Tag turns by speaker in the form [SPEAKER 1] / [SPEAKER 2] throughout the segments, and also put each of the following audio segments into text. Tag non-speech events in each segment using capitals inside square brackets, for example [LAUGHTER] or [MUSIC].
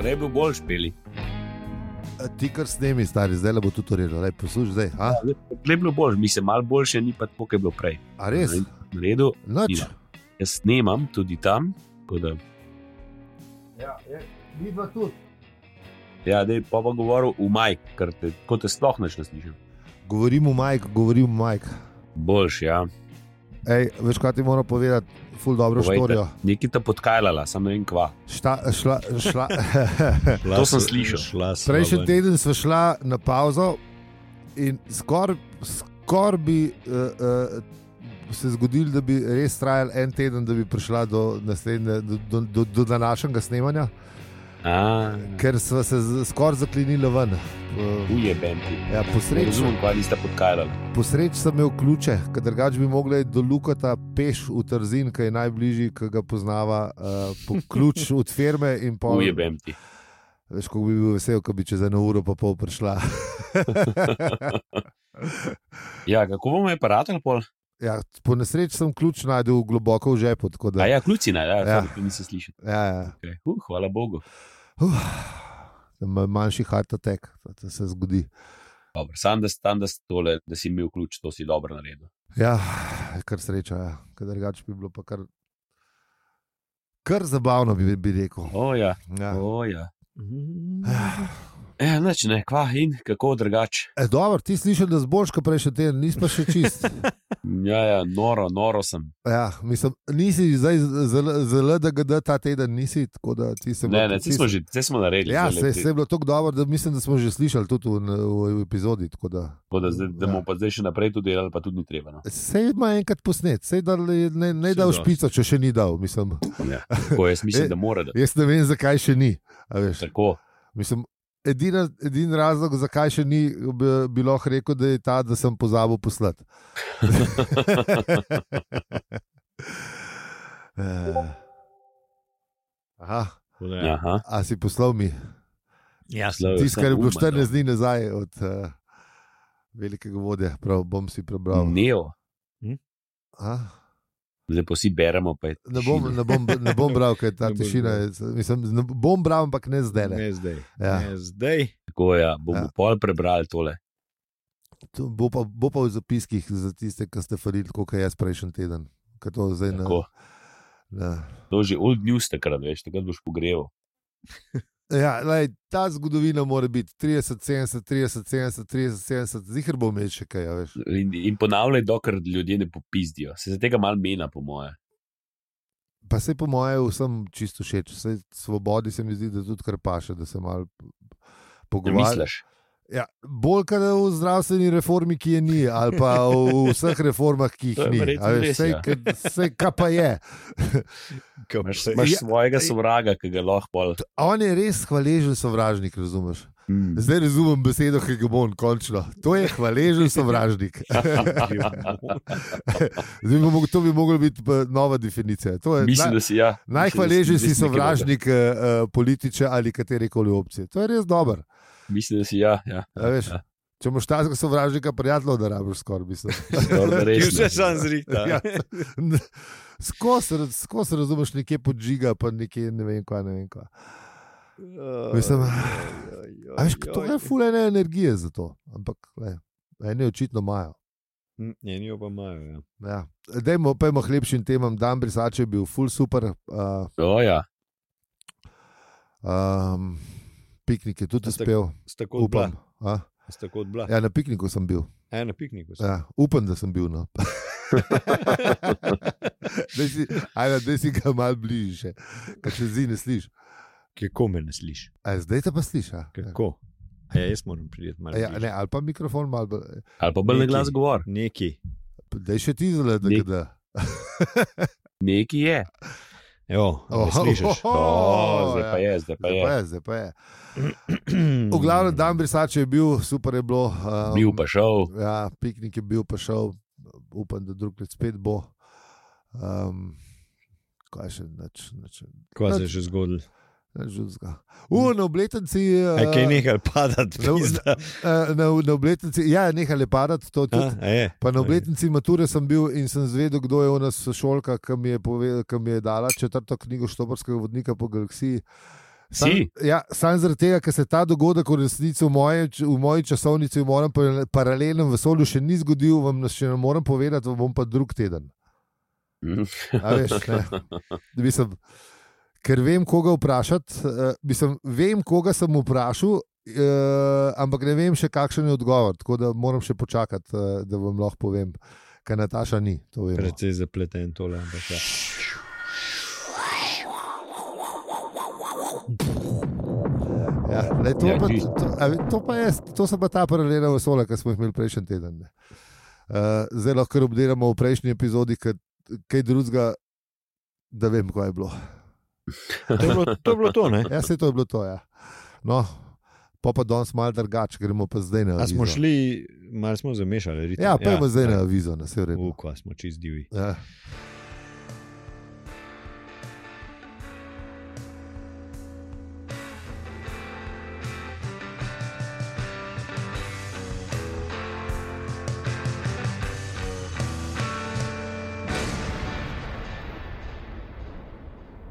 [SPEAKER 1] Prej je bil bolj špeli.
[SPEAKER 2] Eh, Ti kar snemi, stari, zdaj le bo tudi urejeno, lepo poslušaj zdaj. A,
[SPEAKER 1] Prej je bilo bolj, mi se malo boljše, ni pa tako, kot je bilo prej.
[SPEAKER 2] a res?
[SPEAKER 1] Na redu,
[SPEAKER 2] Noč.
[SPEAKER 1] jaz snemam tudi tam. tako Da,
[SPEAKER 2] Ja, vidva tudi.
[SPEAKER 1] ja, da je pa pa govoril v majk, ker te, tako te sploh neč ne slišim.
[SPEAKER 2] Govorim v majku, govorim v majku.
[SPEAKER 1] Boljš, ja.
[SPEAKER 2] Ej, veš, kaj ti moram povedati, ful dobro
[SPEAKER 1] Povejte.
[SPEAKER 2] štorijo.
[SPEAKER 1] Nekaj ta podkajala, samo ne vem kva.
[SPEAKER 2] Šta, šla,
[SPEAKER 1] [LAUGHS]
[SPEAKER 2] šla, [LAUGHS]
[SPEAKER 1] To sem slišal.
[SPEAKER 2] prejšnji teden sva šla na pauzo in skoraj skor bi uh, uh, se zgodil, da bi res trajal en teden, da bi prišla do, naslednje- do, do, do, do današnjega snemanja,
[SPEAKER 1] Mhm. A,
[SPEAKER 2] ker sva se z- skoraj zaklinila ven. Uh,
[SPEAKER 1] Uje, Benti.
[SPEAKER 2] ja,
[SPEAKER 1] Ne
[SPEAKER 2] posreč,
[SPEAKER 1] razumem, kva nista podkajala.
[SPEAKER 2] posreč sem imel ključe, ker drugače bi mogla iti do Lukata peš v Trzin, ki je najbližji, ki ga poznava, uh, po
[SPEAKER 1] [LAUGHS]
[SPEAKER 2] ključ od firme in pa
[SPEAKER 1] Uje, Benti.
[SPEAKER 2] Veš, kako bi bil vesel, ko bi čez eno uro pa pol prišla.
[SPEAKER 1] Ja, kako bomo je paratel pol?
[SPEAKER 2] ja, po nesreči sem ključ najdel globoko v žepu. tako Da,
[SPEAKER 1] A
[SPEAKER 2] ja.
[SPEAKER 1] ja, kljucina, ja,
[SPEAKER 2] Ja.
[SPEAKER 1] ja. nisem slišal.
[SPEAKER 2] Ja,
[SPEAKER 1] Okay. Uh, hvala Bogu.
[SPEAKER 2] uh, manjši heart attack, to, to se zgodi.
[SPEAKER 1] Dobro, Sam, da, sam da, s tole, da si imel ključ, to si dobro naredil.
[SPEAKER 2] Ja, kar sreča, ja. ker drugače bi bilo pa kar. Kar zabavno bi, bi rekel.
[SPEAKER 1] O, ja.
[SPEAKER 2] Ja.
[SPEAKER 1] O, ja.
[SPEAKER 2] Mm.
[SPEAKER 1] E, neč, ne, kva in kako drugače.
[SPEAKER 2] E, dobro, ti slišiš, da zboljš, kot prejšnji teden, nisi pa še čist.
[SPEAKER 1] Ja, ja, noro, noro sem.
[SPEAKER 2] Ja, mislim, nisi zdaj zelo- zelo, da ga da ta teden nisi, tako da ti se
[SPEAKER 1] Ne, ne, te smo že, te smo naredili.
[SPEAKER 2] Ja,
[SPEAKER 1] zdajle,
[SPEAKER 2] se, se je bilo tako dobro, da mislim, da smo že slišali tudi v, v, v epizodi. tako Da.
[SPEAKER 1] Tako da, zdaj, da
[SPEAKER 2] Ja.
[SPEAKER 1] bomo pa zdaj še naprej to delali, pa tudi ni treba. No.
[SPEAKER 2] Sej ima enkrat posnet, sej da le- ne, ne
[SPEAKER 1] Saj
[SPEAKER 2] da v
[SPEAKER 1] dosti.
[SPEAKER 2] špico, če še ni dal. Mislim.
[SPEAKER 1] Ja. Tako, jaz
[SPEAKER 2] Eh.
[SPEAKER 1] mislim, da mora. Da.
[SPEAKER 2] Jaz ne vem, zakaj še ni. a veš.
[SPEAKER 1] Tako,
[SPEAKER 2] Mislim, edina, edin razlog, zakaj še ni, bi, bi lahko rekel, da je ta, da sem pozabil
[SPEAKER 1] [LAUGHS]
[SPEAKER 2] poslati. [LAUGHS] Eh. Aha,
[SPEAKER 3] Ja.
[SPEAKER 1] aha.
[SPEAKER 2] a si poslal mi?
[SPEAKER 3] Jasno.
[SPEAKER 1] Slavo,
[SPEAKER 2] Tisto, kar je bilo
[SPEAKER 1] Uma,
[SPEAKER 2] 14 dni nazaj od uh, velikega vodja, prav bom si
[SPEAKER 1] no.
[SPEAKER 2] prebral.
[SPEAKER 1] Neo,
[SPEAKER 2] A?
[SPEAKER 1] lepo si beremo. pa je
[SPEAKER 2] Ne bom,
[SPEAKER 1] tišina.
[SPEAKER 2] ne, bom, ne bom bral, ker ta
[SPEAKER 3] Ne boš
[SPEAKER 2] tišina
[SPEAKER 3] bral.
[SPEAKER 2] je. Mislim, ne bom bral, ampak ne zdaj. Ne.
[SPEAKER 3] Ne zdaj.
[SPEAKER 2] Ja.
[SPEAKER 3] Ne zdaj.
[SPEAKER 1] Tako, ja, bomo
[SPEAKER 2] Ja.
[SPEAKER 1] ja. pol prebrali tole.
[SPEAKER 2] To Bo, pa- bo pa v zapiskih za tiste, ki ste farili, kot jaz prejšnji teden. Ker to zdaj ne.
[SPEAKER 1] Tako.
[SPEAKER 2] ne.
[SPEAKER 1] To je že old news takrat, veš, takrat boš pogreval.
[SPEAKER 2] Ja, lej, ta zgodovina mora biti 30, 70, 30, 70, 30, 70, zihar bo imel še kaj, a veš.
[SPEAKER 1] In, in ponavljaj, dokler ljudje ne popizdijo. Se za tega malo mena, po moje.
[SPEAKER 2] Pa se po mojem vsem čisto všeč, vse svobodi se mi zdi, da tudi kar paše, da se malo
[SPEAKER 1] Ne
[SPEAKER 2] pogovarjamo.
[SPEAKER 1] misliš?
[SPEAKER 2] Ja, bolj kot v zdravstveni reformi, ki je ni, ali pa v vseh reformah, ki
[SPEAKER 1] To
[SPEAKER 2] jih
[SPEAKER 1] je
[SPEAKER 2] ni.
[SPEAKER 1] verjetno
[SPEAKER 2] A veš,
[SPEAKER 1] res,
[SPEAKER 2] sej,
[SPEAKER 1] ja.
[SPEAKER 2] ka- sej, kaj pa je?
[SPEAKER 1] Imaš, [LAUGHS]
[SPEAKER 3] Vse-
[SPEAKER 1] imaš
[SPEAKER 2] Ja,
[SPEAKER 1] svojega
[SPEAKER 2] ej.
[SPEAKER 1] sovraga, ki ga lahko pol.
[SPEAKER 2] On je res hvaležen sovražnik, razumeš?
[SPEAKER 1] Mm.
[SPEAKER 2] Zdaj razumem besedo hegemon, končno. To je hvaležen sovražnik. Zdaj, bi mogel- to bi mogla biti pa nova definicija. To je
[SPEAKER 1] Mislim, da si ja.
[SPEAKER 2] najhvaležen
[SPEAKER 1] Mislim, da
[SPEAKER 2] si
[SPEAKER 1] nekaj
[SPEAKER 2] sovražnik uh, političa ali katere koli opcije. To je res dobro.
[SPEAKER 1] dobrega. Mislim, da si ja. ja.
[SPEAKER 2] a veš. Če imaš takega sovražnika, prijatelj, da rabiš skoraj, mislim.
[SPEAKER 1] Skoraj
[SPEAKER 2] [LAUGHS]
[SPEAKER 3] Ki
[SPEAKER 1] res.
[SPEAKER 3] vse
[SPEAKER 1] ne.
[SPEAKER 3] sam zrihta.
[SPEAKER 2] Ja. N- Skozi raz- skozi razumeš nekje podžiga, pa nekje ne vem, kaj ne vem. Kva. Mislim, A veš, to
[SPEAKER 3] ja.
[SPEAKER 2] je fulene energije za to, ampak le, eni očitno imajo.
[SPEAKER 3] Ne, njo pa imajo. Ja.
[SPEAKER 2] Ja. Dajmo, pojmo k lepšim temam, dan brisače je bil ful super, uh,
[SPEAKER 1] O, ja.
[SPEAKER 2] um, piknik je tudi
[SPEAKER 3] A tako-
[SPEAKER 2] uspel,
[SPEAKER 3] S tako od
[SPEAKER 2] upam.
[SPEAKER 3] bila.
[SPEAKER 2] A?
[SPEAKER 3] S tako od bila. Ja.
[SPEAKER 2] Ja, na pikniku sem bil,
[SPEAKER 3] E, na pikniku. Ja.
[SPEAKER 2] ja, upam, da sem
[SPEAKER 1] [LAUGHS]
[SPEAKER 2] bil. No. Daj si, ajde, daj si ga malo bližje, kaj če zdi ne slišiš.
[SPEAKER 3] Kako me ne slišiš?
[SPEAKER 2] A Zdaj te pa slišiš. a?
[SPEAKER 3] Kako? A ja, jaz moram priti malo.
[SPEAKER 2] Ja,
[SPEAKER 3] bližje.
[SPEAKER 2] ne, ali pa mikrofon malo. bolj-
[SPEAKER 1] Ali pa bolj na
[SPEAKER 3] Nekaj.
[SPEAKER 1] glas govor.
[SPEAKER 3] Neki.
[SPEAKER 2] Daj še ti zelo, da
[SPEAKER 1] Nek-
[SPEAKER 2] ga da.
[SPEAKER 1] Neki je.
[SPEAKER 3] Jo, oh,
[SPEAKER 2] Oho,
[SPEAKER 3] slišiš.
[SPEAKER 2] oho,
[SPEAKER 1] O, zdaj pa
[SPEAKER 2] ja.
[SPEAKER 1] je, zdaj pa
[SPEAKER 2] Zdaj pa
[SPEAKER 1] je.
[SPEAKER 2] je, zdaj pa je. V glavnem, dan brisače je bil, super je bilo. Um,
[SPEAKER 1] Bil pa šel.
[SPEAKER 2] Ja, piknik je bil, pa šel, upam, da drug let spet bo. Um, kaj še neč, neč,
[SPEAKER 3] Kaj se je že zgodilo?
[SPEAKER 2] neč žudska. U, na obletnici.
[SPEAKER 3] Aj, kaj
[SPEAKER 2] eh,
[SPEAKER 3] nehal padati.
[SPEAKER 2] No,
[SPEAKER 3] pizda.
[SPEAKER 2] eh, na, na obletnici, ja, nehal je padati, to
[SPEAKER 3] A,
[SPEAKER 2] tudi.
[SPEAKER 3] a je.
[SPEAKER 2] Pa na obletnici mature sem bil in sem zvedel, kdo je ona sošolka, ki mi je, pove, ki mi je dala četrto knjigo Štoporskega vodnika po galaksiji. Sam,
[SPEAKER 1] Si?
[SPEAKER 2] ja, sam zaradi tega, ker se ta dogodek v resnici v, moje, č- v moji časovnici v mojem parale- paralelnem vesolju še ni zgodil, vam še ne morem povedati, vam bom pa drug teden.
[SPEAKER 1] Mm.
[SPEAKER 2] A Veš, ne.
[SPEAKER 1] [LAUGHS]
[SPEAKER 2] mislim, ker vem, koga vprašati, eh, mislim, vem, koga sem vprašal, eh, ampak ne vem še, kakšen je odgovor. Tako da moram še počakati, eh, da vam lahko povem, kaj Nataša ni. to vemo.
[SPEAKER 3] Precej zapleten tole. Ampak, ja.
[SPEAKER 2] Ja, le, to,
[SPEAKER 1] Ja,
[SPEAKER 2] pa,
[SPEAKER 1] čisto.
[SPEAKER 2] to, a ve- to pa je, to so pa ta paralelna vesolja, ki smo jih imeli prejšnji teden. Uh, zdaj lahko kar obdelamo v prejšnji epizodi, ker kaj drugega, da vem, kaj je bilo.
[SPEAKER 3] To je bilo to, je bilo to ne?
[SPEAKER 2] Ja, se to je bilo to. Ja. No, pa pa danes malo drugače, gremo pa zdaj na
[SPEAKER 3] A smo
[SPEAKER 2] avizo.
[SPEAKER 3] šli, malo smo zamešali. ritem.
[SPEAKER 2] Ja, pa ja, zdaj na avizo, na vse vreme.
[SPEAKER 3] Ukva smo čez divi.
[SPEAKER 2] Ja.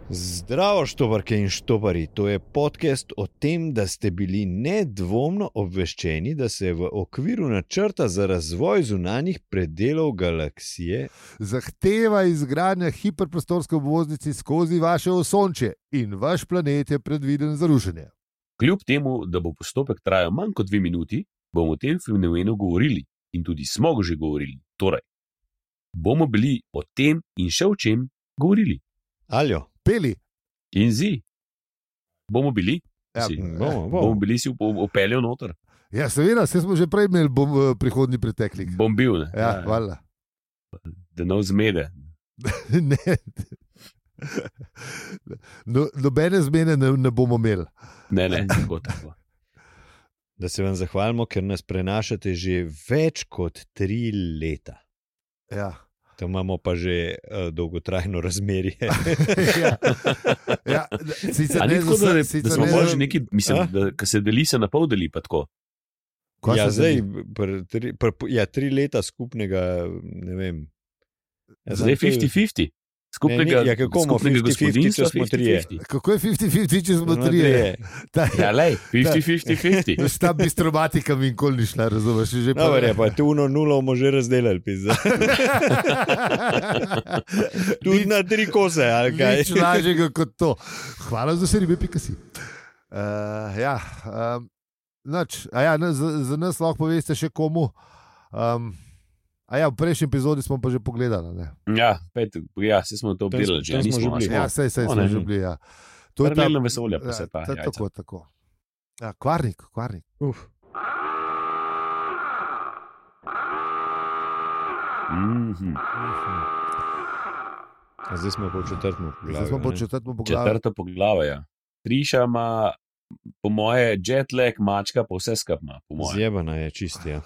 [SPEAKER 3] Zdravo, štoparke in štopari. To je podcast o tem, da ste bili nedvomno obveščeni, da se v okviru načrta za razvoj zunanjih predelov galaksije
[SPEAKER 2] Zahteva izgradnja hiperprostorske obvoznice skozi vaše osončje in vaš planet je predviden za rušenje.
[SPEAKER 1] Kljub temu, da bo postopek trajal manj kot dve minuti, bomo o tem fenomenu govorili in tudi smo ga že govorili. Torej, bomo bili o tem in še o čem govorili.
[SPEAKER 3] Aljo,
[SPEAKER 2] Peli.
[SPEAKER 1] In zi, bomo bili,
[SPEAKER 2] Ja,
[SPEAKER 1] Si.
[SPEAKER 2] eh.
[SPEAKER 3] bomo,
[SPEAKER 1] bomo
[SPEAKER 3] bomo.
[SPEAKER 1] bili si upeljali noter,
[SPEAKER 2] Ja, seveda, vse smo že prej imeli bom, eh, prihodni preteklik.
[SPEAKER 1] bom bil, ne,
[SPEAKER 2] Ja, valjda.
[SPEAKER 1] da ne vzmede.
[SPEAKER 2] [LAUGHS] ne. No, nobene zmede ne, ne bomo imeli.
[SPEAKER 1] Ne, ne, tako tako.
[SPEAKER 3] Da se vam zahvalimo, ker nas prenašate že več kot tri leta.
[SPEAKER 2] Ja. [LAUGHS]
[SPEAKER 3] Tam imamo pa že uh, dolgotrajno razmerje.
[SPEAKER 2] ja. ja. d- Sicer
[SPEAKER 1] Ali
[SPEAKER 2] ne
[SPEAKER 1] ni tako,
[SPEAKER 2] za
[SPEAKER 1] da,
[SPEAKER 2] vse,
[SPEAKER 1] ne- da
[SPEAKER 2] sicer
[SPEAKER 1] smo
[SPEAKER 2] ne
[SPEAKER 1] bolj
[SPEAKER 2] za-
[SPEAKER 1] že neki, mislim,
[SPEAKER 3] A?
[SPEAKER 1] da ko se deli, se na pol deli, pa tako.
[SPEAKER 2] Kaj
[SPEAKER 3] ja,
[SPEAKER 2] se
[SPEAKER 3] zdaj,
[SPEAKER 2] deli?
[SPEAKER 3] pr, tri, pr, ja, tri leta skupnega, ne vem. Ja,
[SPEAKER 1] Zdaj je
[SPEAKER 3] to je-
[SPEAKER 1] 50-50, skupnega,
[SPEAKER 3] Ne, ne, ja, kako bomo
[SPEAKER 1] skupnega
[SPEAKER 3] 50-50,
[SPEAKER 1] gospodinjstva
[SPEAKER 3] če smo ja. trije?
[SPEAKER 1] 50-50.
[SPEAKER 2] Kako je 50-50, če smo
[SPEAKER 3] Smo
[SPEAKER 2] trije? Ta,
[SPEAKER 1] Ja,
[SPEAKER 3] [LAUGHS]
[SPEAKER 1] lej, 50-50-50.
[SPEAKER 2] [LAUGHS] veš, ta bistromatika mi nikoli ni šla, razumeš? Že pa-
[SPEAKER 3] Dobar, je, ja, pa tu uno nulo bomo že razdelili, pizda.
[SPEAKER 2] [LAUGHS]
[SPEAKER 3] Tudi
[SPEAKER 2] Nič-
[SPEAKER 3] na tri kose, ali kaj.
[SPEAKER 2] Nič lažjega kot to. Hvala za vse ribe, pika si. Uh, ja, um, nač, a ja, na- za, za nas lahko poveste še komu. Um, a ja, v prejšnji epizodi smo pa že pogledali. Ne?
[SPEAKER 1] Ja, pet, ja, se smo to obdelali že,
[SPEAKER 3] tam smo
[SPEAKER 1] nismo že
[SPEAKER 3] že bili.
[SPEAKER 1] bili.
[SPEAKER 2] Ja, sej, sej
[SPEAKER 1] O,
[SPEAKER 2] smo
[SPEAKER 1] ne.
[SPEAKER 2] že bili. Ja. To je ta-
[SPEAKER 1] Paralelno vesolje, pa
[SPEAKER 2] ja,
[SPEAKER 1] se ta.
[SPEAKER 2] ta-
[SPEAKER 1] jajca.
[SPEAKER 2] Tako, tako. Ja, kvarnik, kvarnik.
[SPEAKER 3] Uf,
[SPEAKER 1] Mhm.
[SPEAKER 3] a zdaj smo po četrtem.
[SPEAKER 2] Zdaj smo po četrtem poglavju.
[SPEAKER 1] Četrta poglava. Ja. Triša ima, po moje, jet lag, mačka pa vse skupaj ima, po moje.
[SPEAKER 3] Zjebana je čist, ja.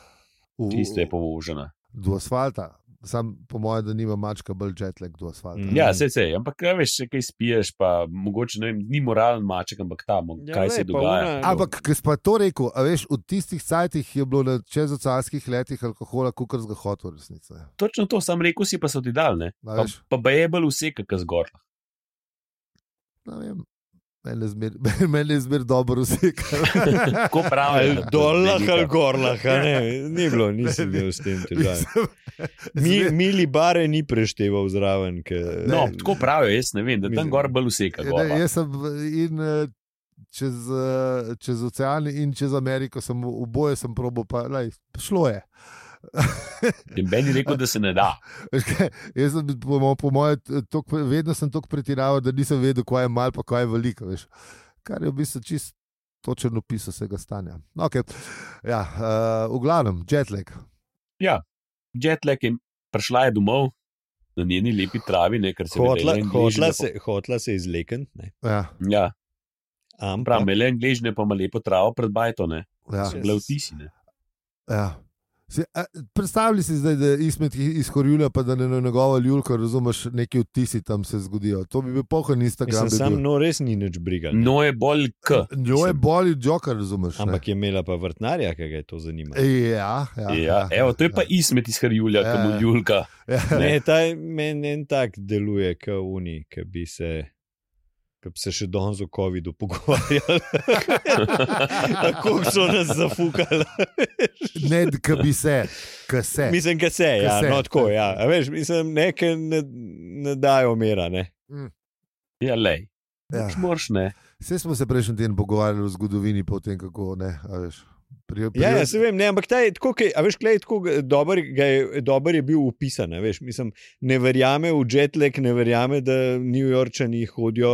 [SPEAKER 2] V-
[SPEAKER 1] Čisto je povožena.
[SPEAKER 2] Do asfalta. Sam, po mojem, da nima mačka bolj jetlag do asfalta.
[SPEAKER 3] Mm.
[SPEAKER 1] Ja, se se, ampak kaj veš, če kaj spiješ, pa mogoče ne vem, ni moralen maček, ampak ta, mo-
[SPEAKER 3] Ja,
[SPEAKER 1] kaj
[SPEAKER 3] glej,
[SPEAKER 1] se
[SPEAKER 3] pa
[SPEAKER 1] dogaja.
[SPEAKER 3] ona-
[SPEAKER 2] Ampak, ki si pa to rekel, a veš, v tistih cajtih je bilo na čezoceanskih letih alkohola, kot z ga hotel, resnice.
[SPEAKER 1] Točno to, sam rekel si, pa so ti dal, ne?
[SPEAKER 2] ja.
[SPEAKER 1] Pa,
[SPEAKER 2] A veš,
[SPEAKER 1] pa je bolj vse, kak zgor.
[SPEAKER 2] ne vem, meni je zmer, [LAUGHS] meni je zmer dobro vse.
[SPEAKER 3] [LAUGHS]
[SPEAKER 1] Tako pravijo.
[SPEAKER 3] [LAUGHS] Ali
[SPEAKER 1] ne,
[SPEAKER 3] dol lah
[SPEAKER 1] velika.
[SPEAKER 3] ali gor lah, a ne, Ja, [LAUGHS] ni bilo, nisem
[SPEAKER 2] Ne, ne.
[SPEAKER 3] bil s tem težav.
[SPEAKER 2] Mislim, [LAUGHS]
[SPEAKER 3] Mi,
[SPEAKER 2] zmer-
[SPEAKER 3] mili bare ni prešteval zraven. eh, Ke,
[SPEAKER 1] No, tako pravijo, jaz ne vem, da tam
[SPEAKER 3] Mislim-
[SPEAKER 1] gor bolj vse, kak
[SPEAKER 2] Ne,
[SPEAKER 1] gor.
[SPEAKER 2] jaz sem in eh, čez, eh, čez ocean in čez Ameriko, sem, v- oboje sem probo, pa lej, šlo je.
[SPEAKER 1] Meni rekel, da se ne da.
[SPEAKER 2] Veš kaj, Jaz sem, po, mo- po moje, t- toliko- vedno sem tako pretiraval, da nisem vedel, kaj je malo, pa kaj je veliko. Veš. Kar je v bistvu čist točen opis vsega stanja. No, Okay. Ja, uh, v glavnem, jetlag.
[SPEAKER 1] Jetlag je prišla je domov na njeni lepi travi, ne, ker se je
[SPEAKER 3] Hotla,
[SPEAKER 1] vedela
[SPEAKER 3] hotla,
[SPEAKER 1] Angležine,
[SPEAKER 3] se, hotla se izleken,
[SPEAKER 2] Ja,
[SPEAKER 1] pa- Ja, prav,
[SPEAKER 3] ampak
[SPEAKER 1] mele angližne pa ima lepo travo pred bajto, ne,
[SPEAKER 2] ja,
[SPEAKER 1] so bile vtisi, ne.
[SPEAKER 2] ja. Se, a, predstavljaj si zdaj, da je izmed izhorjula, pa da ne na njegovo ljulko razumeš, neki vtisi tam se zgodijo. To bi bil pohod Instagram.
[SPEAKER 3] mislim,
[SPEAKER 2] Bi
[SPEAKER 3] sam
[SPEAKER 2] bil.
[SPEAKER 3] no res ni nič brigal. ne.
[SPEAKER 1] No je bolj k.
[SPEAKER 2] Njo je bolj joker, razumeš? ne.
[SPEAKER 3] Ampak je imela pa vrtnarja, ki ga je to zanimalo.
[SPEAKER 2] Ja, ja,
[SPEAKER 1] Ja,
[SPEAKER 3] [LAUGHS]
[SPEAKER 1] evo, to je pa izmed iz Harjulja,
[SPEAKER 2] Ja, ja.
[SPEAKER 1] kam Julka.
[SPEAKER 2] ja.
[SPEAKER 3] Ne, ta meni en tak deluje, kot uni, ki bi se ki bi se še danes o COVID-u
[SPEAKER 2] [LAUGHS]
[SPEAKER 3] pogovarjali. Kako so nas zafukali.
[SPEAKER 2] Ne, ki bi se, ki se.
[SPEAKER 3] mislim, da se, ja,
[SPEAKER 2] Ke se.
[SPEAKER 3] no tako, ja. A Veš, mislim, nekaj ne, ne dajo mera, ne.
[SPEAKER 1] Ja, lej.
[SPEAKER 2] Ja.
[SPEAKER 1] Ja. Moraš ne.
[SPEAKER 2] Vse smo se prejšnji teden pogovarjali o zgodovini, pa o tem, kako ne. a veš. Pri, pri,
[SPEAKER 3] Ja, ja, se vem, ne, ampak ta je tako, kaj, a veš, klej, tako ga- dober, ga je, dober je bil upisan, a veš, mislim, ne verjame v jetlag, ne verjame, da New Yorkčani hodijo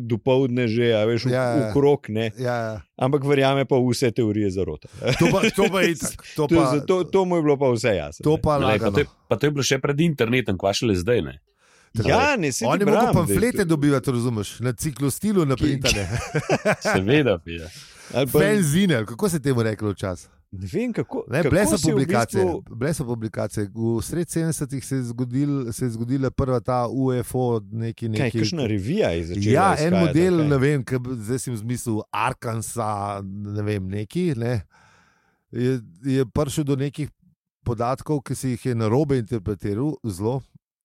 [SPEAKER 3] dopoldne že, a veš, v,
[SPEAKER 2] Ja,
[SPEAKER 3] ja,
[SPEAKER 2] ja.
[SPEAKER 3] v krok, ne,
[SPEAKER 2] ja, ja.
[SPEAKER 3] ampak verjame pa v vse teorije zarote.
[SPEAKER 2] To pa, to pa je itak. To
[SPEAKER 3] [LAUGHS] To, je
[SPEAKER 2] pa,
[SPEAKER 3] za- to, to mu je bilo pa vse jasno.
[SPEAKER 2] to
[SPEAKER 3] ne.
[SPEAKER 2] pa
[SPEAKER 1] Lej, pa,
[SPEAKER 2] lagano.
[SPEAKER 1] to je, pa to je bilo še pred internetom, kva šele zdaj. Ne?
[SPEAKER 3] Ja, ne, se
[SPEAKER 2] On je mogel pamflete dobivati, razumeš, na ciklostilu, na
[SPEAKER 3] [LAUGHS]
[SPEAKER 2] printane,
[SPEAKER 1] Seveda, ja.
[SPEAKER 2] benzine, kako se je temu reklo včasih.
[SPEAKER 3] Ne vem, kako.
[SPEAKER 2] Ne,
[SPEAKER 3] kako
[SPEAKER 2] Bile so
[SPEAKER 3] se je v
[SPEAKER 2] publikacije.
[SPEAKER 3] bistvu-
[SPEAKER 2] Bile so publikacije. V sred 70-ih se, je zgodil- se je zgodila prva ta UFO, neki
[SPEAKER 3] Kaj,
[SPEAKER 2] neki.
[SPEAKER 3] kakšna revija je začela?
[SPEAKER 2] Ja, en
[SPEAKER 3] izhajati,
[SPEAKER 2] model,
[SPEAKER 3] ali
[SPEAKER 2] ne
[SPEAKER 3] kaj?
[SPEAKER 2] vem, kaj, bi- zdaj sem zmislil Arkansas, ne vem, neki. Ne, je, je prišel do nekih podatkov, ki si jih je na robe interpretiral, zelo.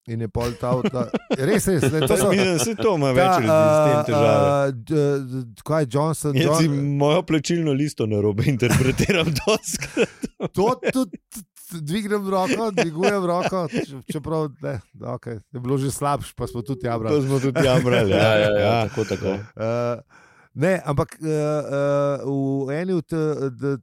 [SPEAKER 2] In je pol ta, ta [LAUGHS] res, res, ne, to
[SPEAKER 3] To
[SPEAKER 2] so.
[SPEAKER 3] mislim, se to ima več
[SPEAKER 2] Ta,
[SPEAKER 3] ljudi s tem težave.
[SPEAKER 2] a, d- d- Kaj je Johnson?
[SPEAKER 3] Jaz si [LAUGHS]
[SPEAKER 2] John,
[SPEAKER 3] mojo plačilno listo na robe [LAUGHS] interpretiram doskrat.
[SPEAKER 2] to tudi dvignem roko, dvigujem roko, če- čeprav ne, okay. je bilo že slabše, pa smo tudi jabrali.
[SPEAKER 3] To smo tudi jamrali.
[SPEAKER 1] Ja, ja, ja, tako, tako.
[SPEAKER 2] Uh, ne, ampak uh, uh, v eni od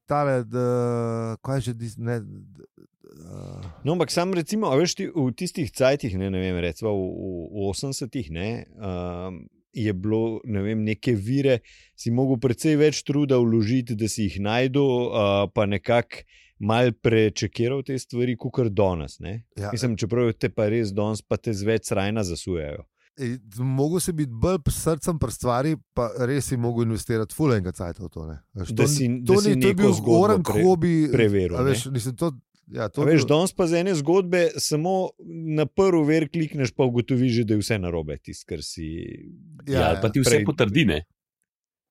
[SPEAKER 2] tale, da- kaj je že, dis- ne, d- uh,
[SPEAKER 3] No, ampak sam recimo, a veš, ti, v tistih cajtih, ne, ne vem, recimo v, v, v 80-ih, ne, um, je bilo ne vem, neke vire, si mogel precej več truda vložiti, da si jih najdu, uh, pa nekako mal prečekiral te stvari, kot kar danes. Ne.
[SPEAKER 2] ja,
[SPEAKER 3] Mislim, čeprav te pa res danes, pa te zveč rajna zasujejo.
[SPEAKER 2] eh, Mogel si biti bolj s srcem pri stvari, pa res si mogel investirati fulenga cajt v to. Ne. Veš,
[SPEAKER 3] Da
[SPEAKER 2] to,
[SPEAKER 3] si-
[SPEAKER 2] ni-
[SPEAKER 3] da
[SPEAKER 2] to ni to
[SPEAKER 3] si
[SPEAKER 2] je
[SPEAKER 3] neko
[SPEAKER 2] bil
[SPEAKER 3] zgodbo
[SPEAKER 2] zgoren
[SPEAKER 3] pre-
[SPEAKER 2] hobi.
[SPEAKER 3] Preveril.
[SPEAKER 2] a
[SPEAKER 3] ne.
[SPEAKER 2] Veš, mislim, to, ja, to je
[SPEAKER 3] A Veš,
[SPEAKER 2] bil-
[SPEAKER 3] danes pa z ene zgodbe samo na prvi ver klikneš, pa ugotoviš, že, da je vse narobe, tisto, kar si.
[SPEAKER 1] Ja, ja, pa ti vse
[SPEAKER 3] Prej-
[SPEAKER 1] potrdi, ne?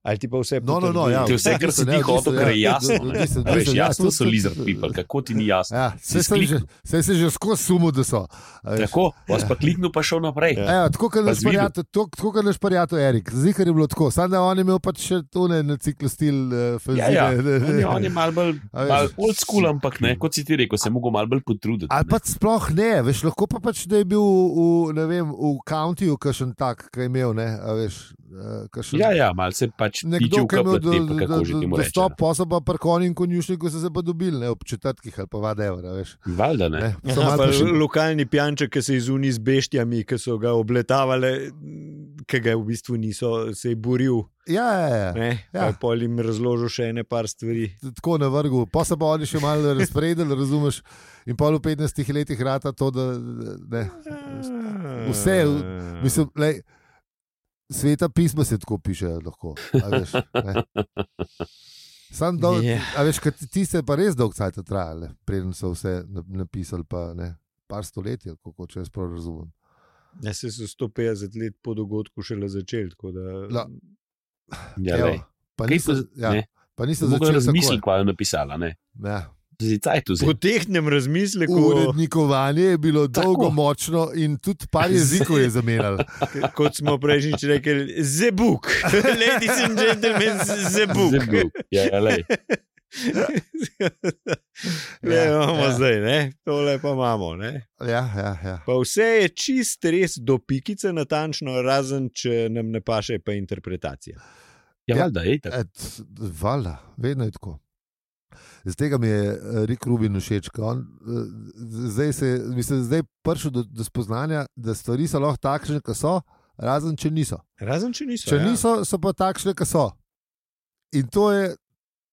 [SPEAKER 3] Ali ti pa vse
[SPEAKER 2] No, no, no, ja.
[SPEAKER 1] Ti vse, kar si ti
[SPEAKER 2] Ja, v bistvu,
[SPEAKER 1] hotel, kar je
[SPEAKER 2] ja,
[SPEAKER 1] jasno.
[SPEAKER 2] v
[SPEAKER 1] ne.
[SPEAKER 2] bistvu,
[SPEAKER 1] A Veš,
[SPEAKER 2] ja,
[SPEAKER 1] jasno
[SPEAKER 2] to-
[SPEAKER 1] so
[SPEAKER 2] to-
[SPEAKER 1] lizard people, kako ti ni jasno.
[SPEAKER 2] Ja,
[SPEAKER 1] Si
[SPEAKER 2] saj sem
[SPEAKER 1] skliknil.
[SPEAKER 2] že- saj sem že skozi sumil, da so. a Ja, veš.
[SPEAKER 1] Tako, vas pa kliknil, pa šel naprej.
[SPEAKER 2] Ja,
[SPEAKER 3] Ja.
[SPEAKER 2] tako kot
[SPEAKER 1] Pa
[SPEAKER 2] naš
[SPEAKER 1] zvidu.
[SPEAKER 2] prijatelj, to- tako kot naš prijatelj Erik, zikar je bilo tako, samo da on je imel pač še tone na ciklu stil, eh,
[SPEAKER 1] Ja, ja.
[SPEAKER 2] fanzine.
[SPEAKER 1] On je, on je malo bolj
[SPEAKER 2] [LAUGHS] A Ja, veš.
[SPEAKER 1] mal old school, ampak ne, kot si ti rekel, se mogo malo bolj potruditi.
[SPEAKER 2] Ali
[SPEAKER 1] ne.
[SPEAKER 2] pa sploh ne, veš, lahko pa pač, da je bil v, v, ne vem, v countyju kakšen tak, ki je imel, ne, a veš, eh, kakšen.
[SPEAKER 1] Ja, ja, malo se pač piče v
[SPEAKER 2] Nekdo, ki je imel
[SPEAKER 1] kaplate,
[SPEAKER 2] do-
[SPEAKER 1] pa
[SPEAKER 2] do-
[SPEAKER 1] kako že
[SPEAKER 2] do-
[SPEAKER 1] ti moraš.
[SPEAKER 2] dostop, posel pa prkon in konjušniku so se pa dobili, ne, ob četrtkih ali pa vadevra, veš.
[SPEAKER 1] Valjda ne.
[SPEAKER 2] Ne, so
[SPEAKER 3] Aha,
[SPEAKER 2] malo
[SPEAKER 3] pa
[SPEAKER 2] prišli-
[SPEAKER 3] lokalni pijanček, ki se je zunil z beštjami, ki so ga obletavali, ki ga v bistvu niso, se je boril.
[SPEAKER 2] Ja, ja, ja.
[SPEAKER 3] Ne,
[SPEAKER 2] Ja.
[SPEAKER 3] ja. Pol jim razložil še ene par stvari.
[SPEAKER 2] tako na vrhu, pa se pa oni še malo razpredeli, razumeš. In pa v 15 letih rata to, da ne. Ja. Vse,
[SPEAKER 3] Ah.
[SPEAKER 1] Ja.
[SPEAKER 2] Mislim, lej, sveta pisma se tako pišejo, lahko. a Veš, ne. Sam dol,
[SPEAKER 3] Ja.
[SPEAKER 2] yeah. a veš, kaj tiste pa res dolg cajt trajale, preden so vse na- napisali, pa ne, par stoletij, ali kako če jaz prav razumem.
[SPEAKER 3] Ja, se so 150 let po dogodku šele začeli. tako Da...
[SPEAKER 2] La-
[SPEAKER 1] Ja,
[SPEAKER 2] Evo,
[SPEAKER 1] lej.
[SPEAKER 2] pa
[SPEAKER 1] Kaj
[SPEAKER 2] niso,
[SPEAKER 1] pa-
[SPEAKER 2] ja,
[SPEAKER 1] ne.
[SPEAKER 2] pa niso
[SPEAKER 1] Mogoče
[SPEAKER 2] začeli
[SPEAKER 1] razmisli,
[SPEAKER 2] razmišljati.
[SPEAKER 1] kaj je napisala. ne.
[SPEAKER 2] Ja.
[SPEAKER 1] Zdaj tu
[SPEAKER 3] Po
[SPEAKER 1] zdaj.
[SPEAKER 3] tehnem razmisleku,
[SPEAKER 2] Urednikovanje je bilo
[SPEAKER 1] Tako.
[SPEAKER 2] Tako. dolgo, močno in tudi par jezikov je
[SPEAKER 1] [LAUGHS]
[SPEAKER 2] zamenjalo.
[SPEAKER 3] k- [LAUGHS] kot smo prejšnjič rekli,
[SPEAKER 2] [LAUGHS]
[SPEAKER 3] zebuk. Ladies and gentlemen, zebuk. [LAUGHS]
[SPEAKER 1] Ja, ja, lej.
[SPEAKER 3] Le
[SPEAKER 2] Ja,
[SPEAKER 3] imamo
[SPEAKER 2] ja.
[SPEAKER 3] ja. zdaj, ne? tole pa imamo. Ne?
[SPEAKER 2] Ja, ja, ja.
[SPEAKER 3] Pa vse je čist res do pikice natančno, razen če nam ne paše pa interpretacija.
[SPEAKER 1] Ja,
[SPEAKER 2] Ja.
[SPEAKER 1] valjda, ej, tako.
[SPEAKER 2] Et, Vala, vedno je tako. Z tega mi je eh, Rick Rubin všeč. ker on, eh, z- Zdaj se je- mislim, zdaj je prišel do, do spoznanja, da stvari so lahko takšne, kot so, razen če niso.
[SPEAKER 3] Razen če niso.
[SPEAKER 2] Če
[SPEAKER 3] ja.
[SPEAKER 2] niso, so pa takšne, kot so. In to je,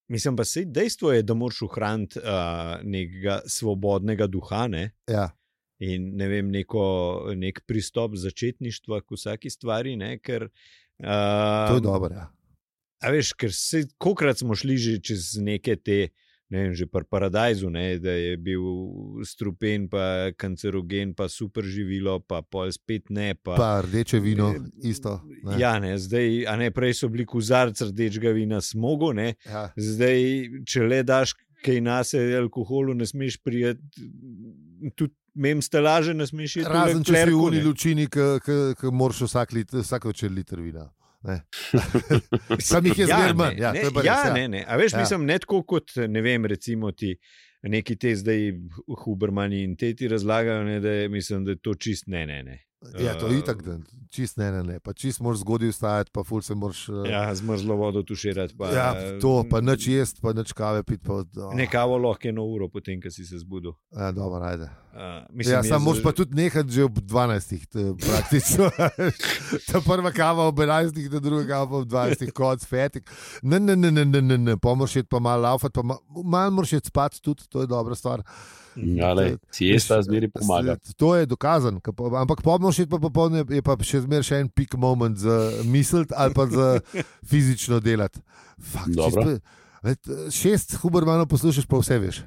[SPEAKER 3] Mislim pa, sej dejstvo je, da moraš ohraniti uh, nekega svobodnega duha ne?
[SPEAKER 2] ja,
[SPEAKER 3] in ne vem, neko, nek pristop začetništva k vsaki stvari, ne? ker.
[SPEAKER 2] to je
[SPEAKER 3] Uh,
[SPEAKER 2] dobro. Ja.
[SPEAKER 3] A veš, ker se, kokrat smo šli že čez neke te, ne vem, že pri paradajzu, ne, da je bil strupen, pa kancerogen, pa super živilo, pa pol spet ne. Pa,
[SPEAKER 2] Pa rdeče vino, isto. Ne.
[SPEAKER 3] Ja, ne, zdaj, a ne, prej so bili kozarc rdečega vina smogo, ne,
[SPEAKER 2] Ja.
[SPEAKER 3] zdaj, če le daš kaj nase alkoholu, ne smeš prijeti, tudi mem stelaže ne smeš iti.
[SPEAKER 2] Razen če si v uni lučini, ki moraš vsak, lit, vsak večer liter vina.
[SPEAKER 3] [LAUGHS]
[SPEAKER 2] Sam jih je
[SPEAKER 3] Ja,
[SPEAKER 2] zmerno.
[SPEAKER 3] ne,
[SPEAKER 2] Ja,
[SPEAKER 3] ne,
[SPEAKER 2] to je pa
[SPEAKER 3] ja,
[SPEAKER 2] res, ja.
[SPEAKER 3] ne, ne. A veš,
[SPEAKER 2] Ja.
[SPEAKER 3] ja. mislim, ne tako kot ne vem, recimo ti neki te zdaj Hubermani in te ti razlagajo, ne, da, je, mislim, da je to čist ne, ne. ne.
[SPEAKER 2] Ja, to je itak, da čist ne, ne, ne. Pa čist moraš zgodaj vstajati, pa ful se moraš. eh,
[SPEAKER 3] Ja, zmrzlo vodo tuširati. Pa,
[SPEAKER 2] ja, to, pa nič jesti, pa nič kave piti. Pa, oh,
[SPEAKER 3] Ne kavo lahko eno uro, potem, ko si se zbudil.
[SPEAKER 2] ja, dobro, ajde.
[SPEAKER 3] Uh,
[SPEAKER 2] Mislim, ja,
[SPEAKER 3] jaz-
[SPEAKER 2] sam moraš pa tudi nehati že ob 12. to je Praktično. [LAUGHS] Ta prva kava ob 11, ta druga kava pa ob 12, konc fetik. Ne, ne, ne, ne, ne, ne, ne. pomoš je pa malo laufati, pa ma, malo moraš je spati tudi, to je dobra stvar.
[SPEAKER 1] Ja, le, si jaz ta zmeri pomaga.
[SPEAKER 2] To je dokazano, ke po- ampak pomoš je pa popolne, je pa še zmeraj še en pik moment za misliti ali pa
[SPEAKER 3] [LAUGHS]
[SPEAKER 2] za fizično delati. Fakt,
[SPEAKER 1] Dobro.
[SPEAKER 2] čisto- Let, šest Hubermanov poslušaš, pa vse veš.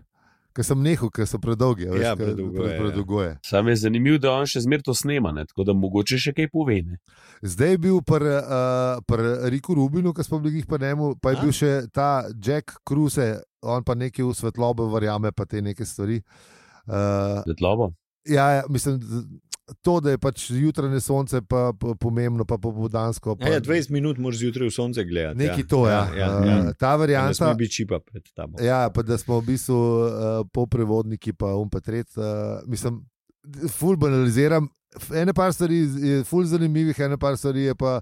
[SPEAKER 2] Ker sem nehal, ker so predolgi. a Veš,
[SPEAKER 3] Ja,
[SPEAKER 2] ke-
[SPEAKER 3] predolgo je, ja.
[SPEAKER 2] predolgo je.
[SPEAKER 1] Sam je zanimivo, da on še zmeraj to snema, ne? tako da mogoče še kaj pove. Ne?
[SPEAKER 2] Zdaj je bil pri uh, pr Riku Rubinu, ki smo bili jih pa njemu, pa je
[SPEAKER 3] A?
[SPEAKER 2] bil še ta Jack Cruise, on pa nekaj v svetlobo verjame, pa te neke stvari. Uh,
[SPEAKER 1] Svetlobo.
[SPEAKER 2] ja, ja, mislim, z- to, da je pač jutranje sonce pa, pa pomembno, pa popoldansko. Pa,
[SPEAKER 3] Ja, ja, 20 minut moraš zjutraj v sonce gledati.
[SPEAKER 2] Nekaj to je. Ja,
[SPEAKER 3] ja,
[SPEAKER 2] uh, Ta
[SPEAKER 3] ja. Ja, ne sme
[SPEAKER 2] varianta.
[SPEAKER 3] biti čipa pred tabo.
[SPEAKER 2] Ja, pa da smo v bistvu uh, polprevodniki, pa um pa tret. Uh, mislim, d- ful banaliziram. F- Ene par stvari z- je ful zanimivih, ene par stvari je pa.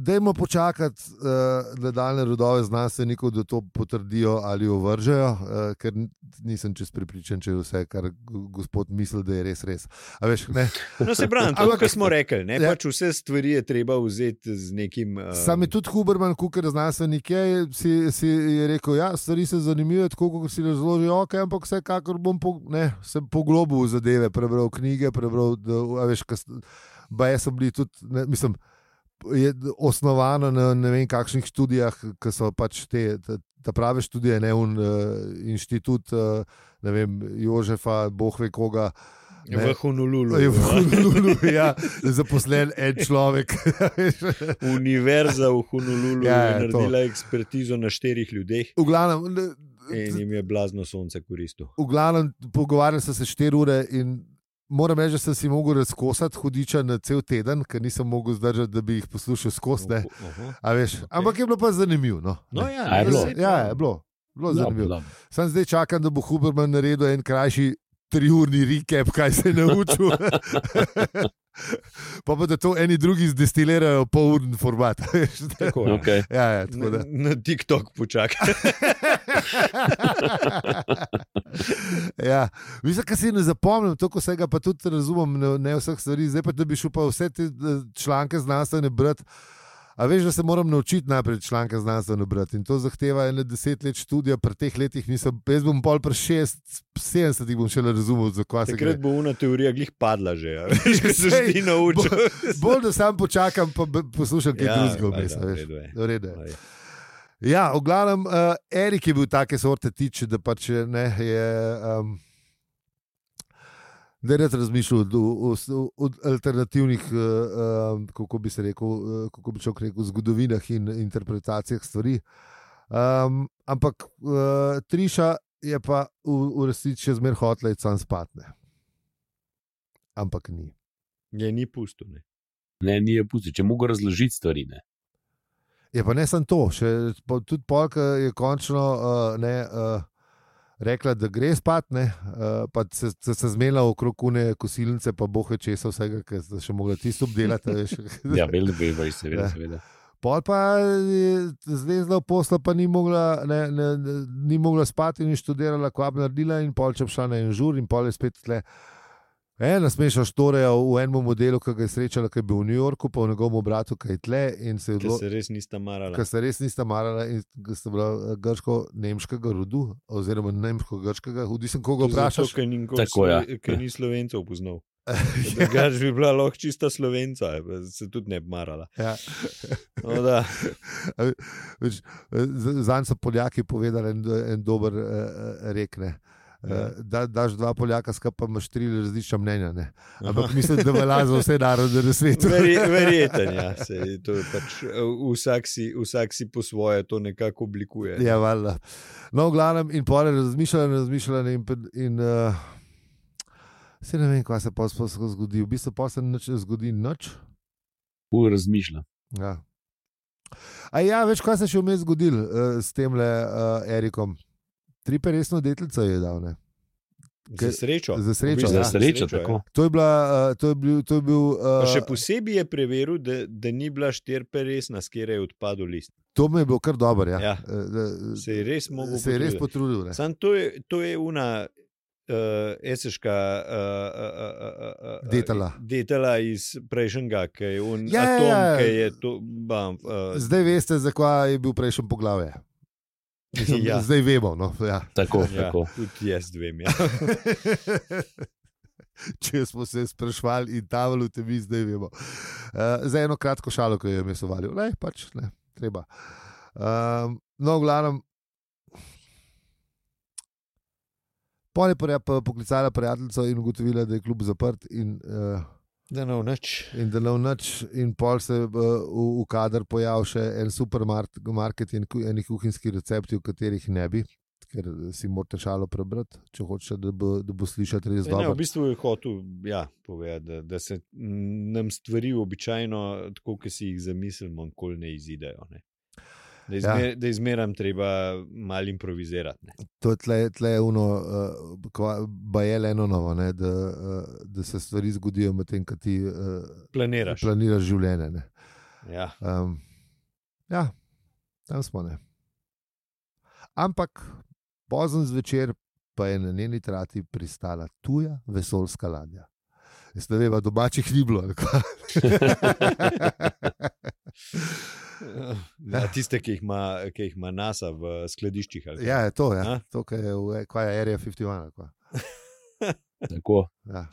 [SPEAKER 2] Dajmo počakati uh, nadaljne rodove znanstvenikov, da to potrdijo ali ovržejo, uh, ker n- nisem čest pripričan, če je vse, kar g- gospod misli, da je res res. A veš, ne,
[SPEAKER 3] No, se pravi, to,
[SPEAKER 2] Ampak-
[SPEAKER 3] kar smo rekli, ne,
[SPEAKER 2] Ja.
[SPEAKER 3] ja. pač vse stvari je treba vzeti z nekim. Uh,
[SPEAKER 2] Sam je tudi Huberman, kukar znanstvenik je, je- si, si je rekel, da ja, stvari so zanimive, tako kot si razloži, ok, ampak vsekakor bom po, ne, sem poglobil v zadeve, prebral knjige, prebral, da, a veš, baje so bili tudi, ne, mislim, je d- osnovano na ne vem kakšnih študijah, ki so pač te, ta, ta prave študije, ne un uh, inštitut, uh, ne vem, Jožefa, Bohve koga. ne.
[SPEAKER 3] v Honolulu. no.
[SPEAKER 2] Je v Honolulu, ja, zaposlen en človek. [LAUGHS]
[SPEAKER 3] Univerza v Honolulu
[SPEAKER 2] Ja,
[SPEAKER 3] ja,
[SPEAKER 2] ja,
[SPEAKER 3] je naredila to. ekspertizo na štirih ljudeh
[SPEAKER 2] V glavnem, ne,
[SPEAKER 3] in jim je blazno sonce koristilo.
[SPEAKER 2] v glavnem, pogovarjali smo se 4 ure in moram reči, da sem si mogel razkosati hudiča na cel teden, ker nisem mogel zdržati, da bi jih poslušal skozi. ne.
[SPEAKER 3] Oho.
[SPEAKER 2] A veš, Ampak je bilo pa zanimivo. No.
[SPEAKER 3] No, ja, No,
[SPEAKER 1] A je
[SPEAKER 3] ne,
[SPEAKER 1] bilo?
[SPEAKER 3] saj to-
[SPEAKER 2] ja, je bilo. bilo zanimivo.
[SPEAKER 1] Dobro, dobro.
[SPEAKER 2] Sam zdaj čakam, da bo Huberman naredil en krajši triurni recap, kaj se je
[SPEAKER 3] [LAUGHS]
[SPEAKER 2] naučil. pa pa da to eni drugi zdestilirajo polurni format. [LAUGHS] a veš.
[SPEAKER 3] Tako, ja.
[SPEAKER 1] Okay.
[SPEAKER 2] ja, ja, tako da.
[SPEAKER 3] Na, na TikTok
[SPEAKER 2] [LAUGHS]
[SPEAKER 3] počakaj.
[SPEAKER 2] ja. Mislim, da si ne zapomnim, to vsega pa tudi razumem, ne, ne vseh stvari. Zdaj pa, da bi šel pa vse te eh, članke znanstvene brati. A veš, da se moram naučiti najprej članke znanstveno brati in to zahteva ene deset let študija, pri teh letih nisem, jaz bom pol pri šest, sedemdesetih bom šele razumel, zakaj se gre.
[SPEAKER 3] Takrat bo ena teorija glih padla že,
[SPEAKER 2] [LAUGHS]
[SPEAKER 3] ja. veš, ko se že ti naučil.
[SPEAKER 2] Bolj, da sam počakam, pa b- poslušam kaj
[SPEAKER 3] Ja,
[SPEAKER 2] drugega
[SPEAKER 3] valjda,
[SPEAKER 2] vmes. a
[SPEAKER 3] v
[SPEAKER 2] veš.
[SPEAKER 3] redu je.
[SPEAKER 2] V redu je. Ja, v glavnem, uh, Erik je bil take sorte tič, da pač ne je. Um, Da je res razmišljal o, o, o alternativnih, eh, eh, kako bi se rekel, eh, kako bi človek rekel, zgodovinah in interpretacijah stvari. Um, ampak eh, Triša je pa v, v resnici še zmeraj hotla in sam spatne. Ampak ni.
[SPEAKER 3] Je ni pusto. Ne.
[SPEAKER 1] Ne, ni je pusti, če mogo razložiti stvari. Ne?
[SPEAKER 2] Je pa ne samo to, še po, tudi polka je končno uh, ne, uh, rekla, da gre spat, ne, uh, pa se, se, se zmela okrog une kosilnice, pa bohe česa vsega, ker ste še mogli tisto obdelati. a Veš. [LAUGHS]
[SPEAKER 1] Ja, vedno veš, seveda.
[SPEAKER 2] Ja.
[SPEAKER 1] Ja. seveda.
[SPEAKER 2] Pol pa je zlezla v posla, pa ni mogla, ne, ne, ne, ni mogla spati in je študirala, ko je naredila, in pol če bi šla na en žur, in pol je spet tle. Ena smeša štoreja v enem modelu, ki ga je srečala, ki je bil v New Yorku, pa v njegovem bratu, ki je tle. in se je
[SPEAKER 3] Ker
[SPEAKER 2] odlo-
[SPEAKER 3] se res nista marala.
[SPEAKER 2] Ker se res nista marala in ker sta bila eh, grško-nemškega rodu, oziroma nemško-grškega, hudi sem koga vprašal.
[SPEAKER 3] Zato, ker ni nikoli
[SPEAKER 1] Tako, ja.
[SPEAKER 3] Slo- ker ni slovencev
[SPEAKER 2] [LAUGHS]
[SPEAKER 3] poznal. Drugač bi bila lahko čista slovenca, je pa se tudi ne bi marala.
[SPEAKER 2] Ja.
[SPEAKER 3] No, da,
[SPEAKER 2] Zanj so Poljaki povedali en, do- en dober uh, rekne.
[SPEAKER 3] Ja.
[SPEAKER 2] Uh, da, daš dva Poljaka, skupaj pa imaš tri različna mnenja. Ne? Ampak
[SPEAKER 3] Aha.
[SPEAKER 2] mislim, da velja za vse narode na svetu.
[SPEAKER 3] [LAUGHS] Veri, verjeten, ja. Sej, to je pač, eh, vsak, si, vsak si po svoje to nekako oblikuje.
[SPEAKER 2] Ja, valjda. No, v glavnem, in pol je razmišljala, in razmišljala. In, pred- in, uh, se ne vem, kaj se pa zgodi. V bistvu pa se nič ne zgodi, noč.
[SPEAKER 1] Pol razmišlja.
[SPEAKER 2] Ja. A ja, veš, kaj se je še vmes zgodilo uh, s tem le uh, Erikom? Tri peresno deteljico je dal. Ne?
[SPEAKER 3] Za srečo.
[SPEAKER 2] Za srečo,
[SPEAKER 3] V
[SPEAKER 1] Za
[SPEAKER 2] ja.
[SPEAKER 1] srečo,
[SPEAKER 3] za
[SPEAKER 1] tako.
[SPEAKER 2] To je, bila, uh, to je bil. To je bil
[SPEAKER 3] Pa
[SPEAKER 2] uh,
[SPEAKER 3] še posebej je preveril, da, da ni bila štirperesna, s katero je odpadel list.
[SPEAKER 2] to mi je bilo kar dobro. Ja.
[SPEAKER 3] Ja.
[SPEAKER 2] Uh,
[SPEAKER 3] Se je res mogel.
[SPEAKER 2] se je res
[SPEAKER 3] potruditi.
[SPEAKER 2] potrudil. ne.
[SPEAKER 3] Sam to je, to je una uh, eseška eh, uh, uh, uh, uh,
[SPEAKER 2] Detela.
[SPEAKER 3] detela iz prejšnjega, ki je un
[SPEAKER 2] Ja,
[SPEAKER 3] ja,
[SPEAKER 2] ja,
[SPEAKER 3] atom,
[SPEAKER 2] ja.
[SPEAKER 3] ja. ki je to. Bam, [LAUGHS] uh,
[SPEAKER 2] Zdaj veste, zakaj je bil prejšnji poglavje. Mislim, ja.
[SPEAKER 3] [LAUGHS] Ja.
[SPEAKER 2] Zdaj vemo. No, ja.
[SPEAKER 1] Tako,
[SPEAKER 3] ja,
[SPEAKER 1] tako.
[SPEAKER 3] tudi jaz vem. Ja.
[SPEAKER 2] [LAUGHS] Če smo se sprašvali in tavali, te mi zdaj vemo. Uh, za eno kratko šalo, ki jo je mesovali, ne, pač ne, treba. Um, no, v glavnem. Pol je porja- pa poklicala prijateljico in ugotovila, da je kljub zaprt, in, uh,
[SPEAKER 3] Da ne vnač.
[SPEAKER 2] in da ne vnač, in pol se uh, v, v kader pojavil še en supermarket in ku- eni kuhinjski recepti, v katerih ne bi, ker eh, si morate šalo prebrati, če hočeš, da bo, da bo slišati res
[SPEAKER 3] E, Ne,
[SPEAKER 2] dobro.
[SPEAKER 3] v bistvu je hotel ja, povedati, da, da se mm, nam stvari običajno, tako kot si jih zamislimo, nikoli ne izidejo. Ne. Da, izmer, ja. da izmeram treba malo improvizirati. Ne.
[SPEAKER 2] To je tle, tle uno, uh, bajele eno novo, ne, da, uh, da se stvari zgodijo medtem, ko ti uh,
[SPEAKER 3] Planiraš.
[SPEAKER 2] planiraš življenje. ne.
[SPEAKER 3] Ja.
[SPEAKER 2] Um, ja, tam smo ne. Ampak pozen zvečer pa je na njeni trati pristala tuja vesoljska ladja. Jaz ne vem, a domačih ni bilo. ali kva?
[SPEAKER 3] Ja, tiste, ki jih, ima, ki jih ima NASA v skladiščih. ali kaj?
[SPEAKER 2] ja, je to, ja.
[SPEAKER 3] A?
[SPEAKER 2] to kar je v kva je Area 51. ali kva.
[SPEAKER 1] tako.
[SPEAKER 2] Ja.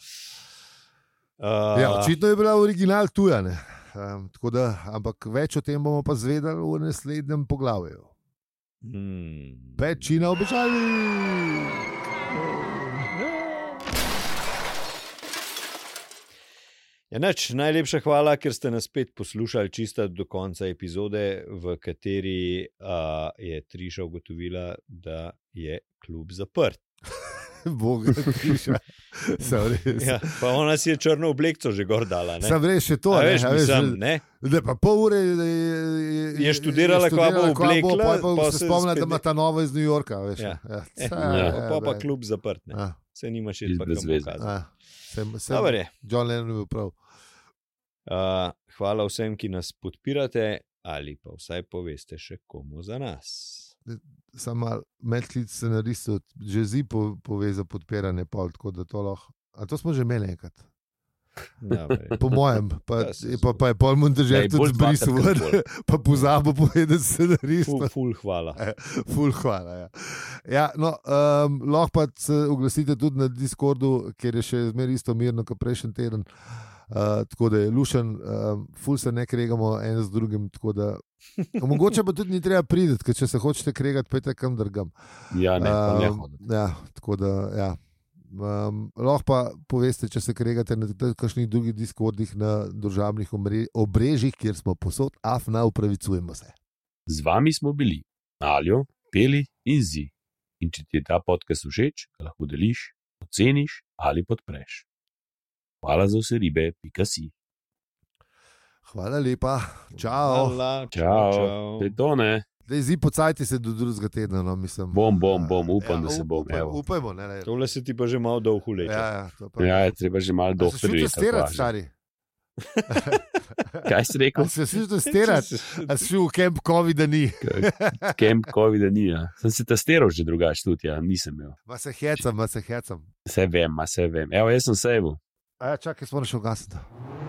[SPEAKER 3] Uh,
[SPEAKER 2] Ja, očitno je bila original tuja. ne. Um, tako da, ampak več o tem bomo pa zvedeli v naslednjem poglavju.
[SPEAKER 3] hmm.
[SPEAKER 2] Večina običajnih.
[SPEAKER 3] Ja, nač, najlepša hvala, ker ste nas spet poslušali čista do konca epizode, v kateri uh, je Triša ugotovila, da je klub zaprt.
[SPEAKER 2] [LAUGHS] Boga,
[SPEAKER 3] [LAUGHS]
[SPEAKER 2] piša. Sam res.
[SPEAKER 3] Ja, pa ona si je črno oblekco že gor dala. Ne?
[SPEAKER 2] Sam res še to,
[SPEAKER 3] A
[SPEAKER 2] ne,
[SPEAKER 3] veš,
[SPEAKER 2] a
[SPEAKER 3] mislim,
[SPEAKER 2] da-
[SPEAKER 3] ne?
[SPEAKER 2] da pa pol ure je, je,
[SPEAKER 3] Je študirala, kva bo oblekla,
[SPEAKER 2] pol pa
[SPEAKER 3] pa
[SPEAKER 2] se
[SPEAKER 3] se
[SPEAKER 2] spomnila, da
[SPEAKER 3] spet-
[SPEAKER 2] ima ta nova iz New Yorka. Veš,
[SPEAKER 3] [LAUGHS] Ja.
[SPEAKER 2] Ja,
[SPEAKER 3] Eh,
[SPEAKER 2] ca,
[SPEAKER 1] Ja.
[SPEAKER 3] Pa, pa, pa
[SPEAKER 2] glej.
[SPEAKER 3] klub zaprt, ne?
[SPEAKER 2] A,
[SPEAKER 3] se nima še
[SPEAKER 1] Iz
[SPEAKER 3] pa
[SPEAKER 1] brez
[SPEAKER 3] kam
[SPEAKER 1] veze.
[SPEAKER 3] pokazati.
[SPEAKER 2] a, Ja, sem, sem,
[SPEAKER 3] Dobro je.
[SPEAKER 2] John Lennon je bil prav.
[SPEAKER 3] Uh, hvala vsem, ki nas podpirate, ali pa vsaj poveste še komu za nas.
[SPEAKER 2] samo medklic scenaristov, že zi po, pove za podpiranje pol, tako da to lahko. A to smo že imeli enkrat, [LAUGHS]
[SPEAKER 3] Dobre.
[SPEAKER 2] po mojem, pa,
[SPEAKER 3] [LAUGHS] Ja, se
[SPEAKER 2] je pa, pa je pol
[SPEAKER 1] Ej, bolj
[SPEAKER 2] Montežer tudi zbrisal,
[SPEAKER 1] dvakrat,
[SPEAKER 2] ven,
[SPEAKER 1] kot bolj.
[SPEAKER 2] [LAUGHS] pa pozabo povedati
[SPEAKER 3] Ful,
[SPEAKER 2] scenaristu.
[SPEAKER 3] ful, hvala.
[SPEAKER 2] E, Ful, hvala. Ja. Ja, no, um, lahko pa se oglasite tudi na Discordu, kjer je še zmeraj isto mirno kot prejšnji teden. Uh, tako da je lušen, um, ful se ne kregamo en z drugim. tako
[SPEAKER 1] [LAUGHS]
[SPEAKER 2] Da, mogoče pa tudi ni treba priti, ker če se hočete kregati, pojte kam drugam.
[SPEAKER 1] Ja, ne, um, ne
[SPEAKER 2] Um,
[SPEAKER 1] hoditi.
[SPEAKER 2] ja, tako da, ja. Um, lahko pa poveste, če se kregate na t- kakšnih drugih diskordih, na državnih omre- obrežjih, kjer smo posod, afna, upravičujemo se.
[SPEAKER 1] Z vami smo bili, Aljo, Peli in Zi. In če ti je ta podcast všeč, ga lahko deliš, oceniš ali podpreš. Hvala za vse ribe, pika si.
[SPEAKER 2] Hvala lepa, čau.
[SPEAKER 3] Hvala,
[SPEAKER 1] Čau,
[SPEAKER 3] čau.
[SPEAKER 1] Te to ne,
[SPEAKER 2] Zdaj zi pocajti se do drugega tedna, no, mislim.
[SPEAKER 1] bom, bom, bom, upam,
[SPEAKER 2] Ja,
[SPEAKER 1] da se bom.
[SPEAKER 2] upaj-
[SPEAKER 1] evo.
[SPEAKER 2] Upajmo, ne, ne.
[SPEAKER 3] Tole se ti pa že malo dolgo leče. [LAUGHS]
[SPEAKER 2] Ja, ja, to pa.
[SPEAKER 1] Ja, je treba že malo
[SPEAKER 2] A se šel
[SPEAKER 1] dohtriti.
[SPEAKER 2] testirati, stari.
[SPEAKER 1] Kaj si
[SPEAKER 2] A
[SPEAKER 1] rekel? [LAUGHS]
[SPEAKER 2] se šel testirati, a si šel v kamp COVID, da ni.
[SPEAKER 1] Kemp COVID-a ni. Ja. Sem se testiral že drugače tudi, ja. nisem imel.
[SPEAKER 2] Ma se hecam, ma se hecam.
[SPEAKER 1] Vse vem, ma vse vem. Evo, jaz sem sejvo.
[SPEAKER 2] A ja, čakaj, smo še ugasnili.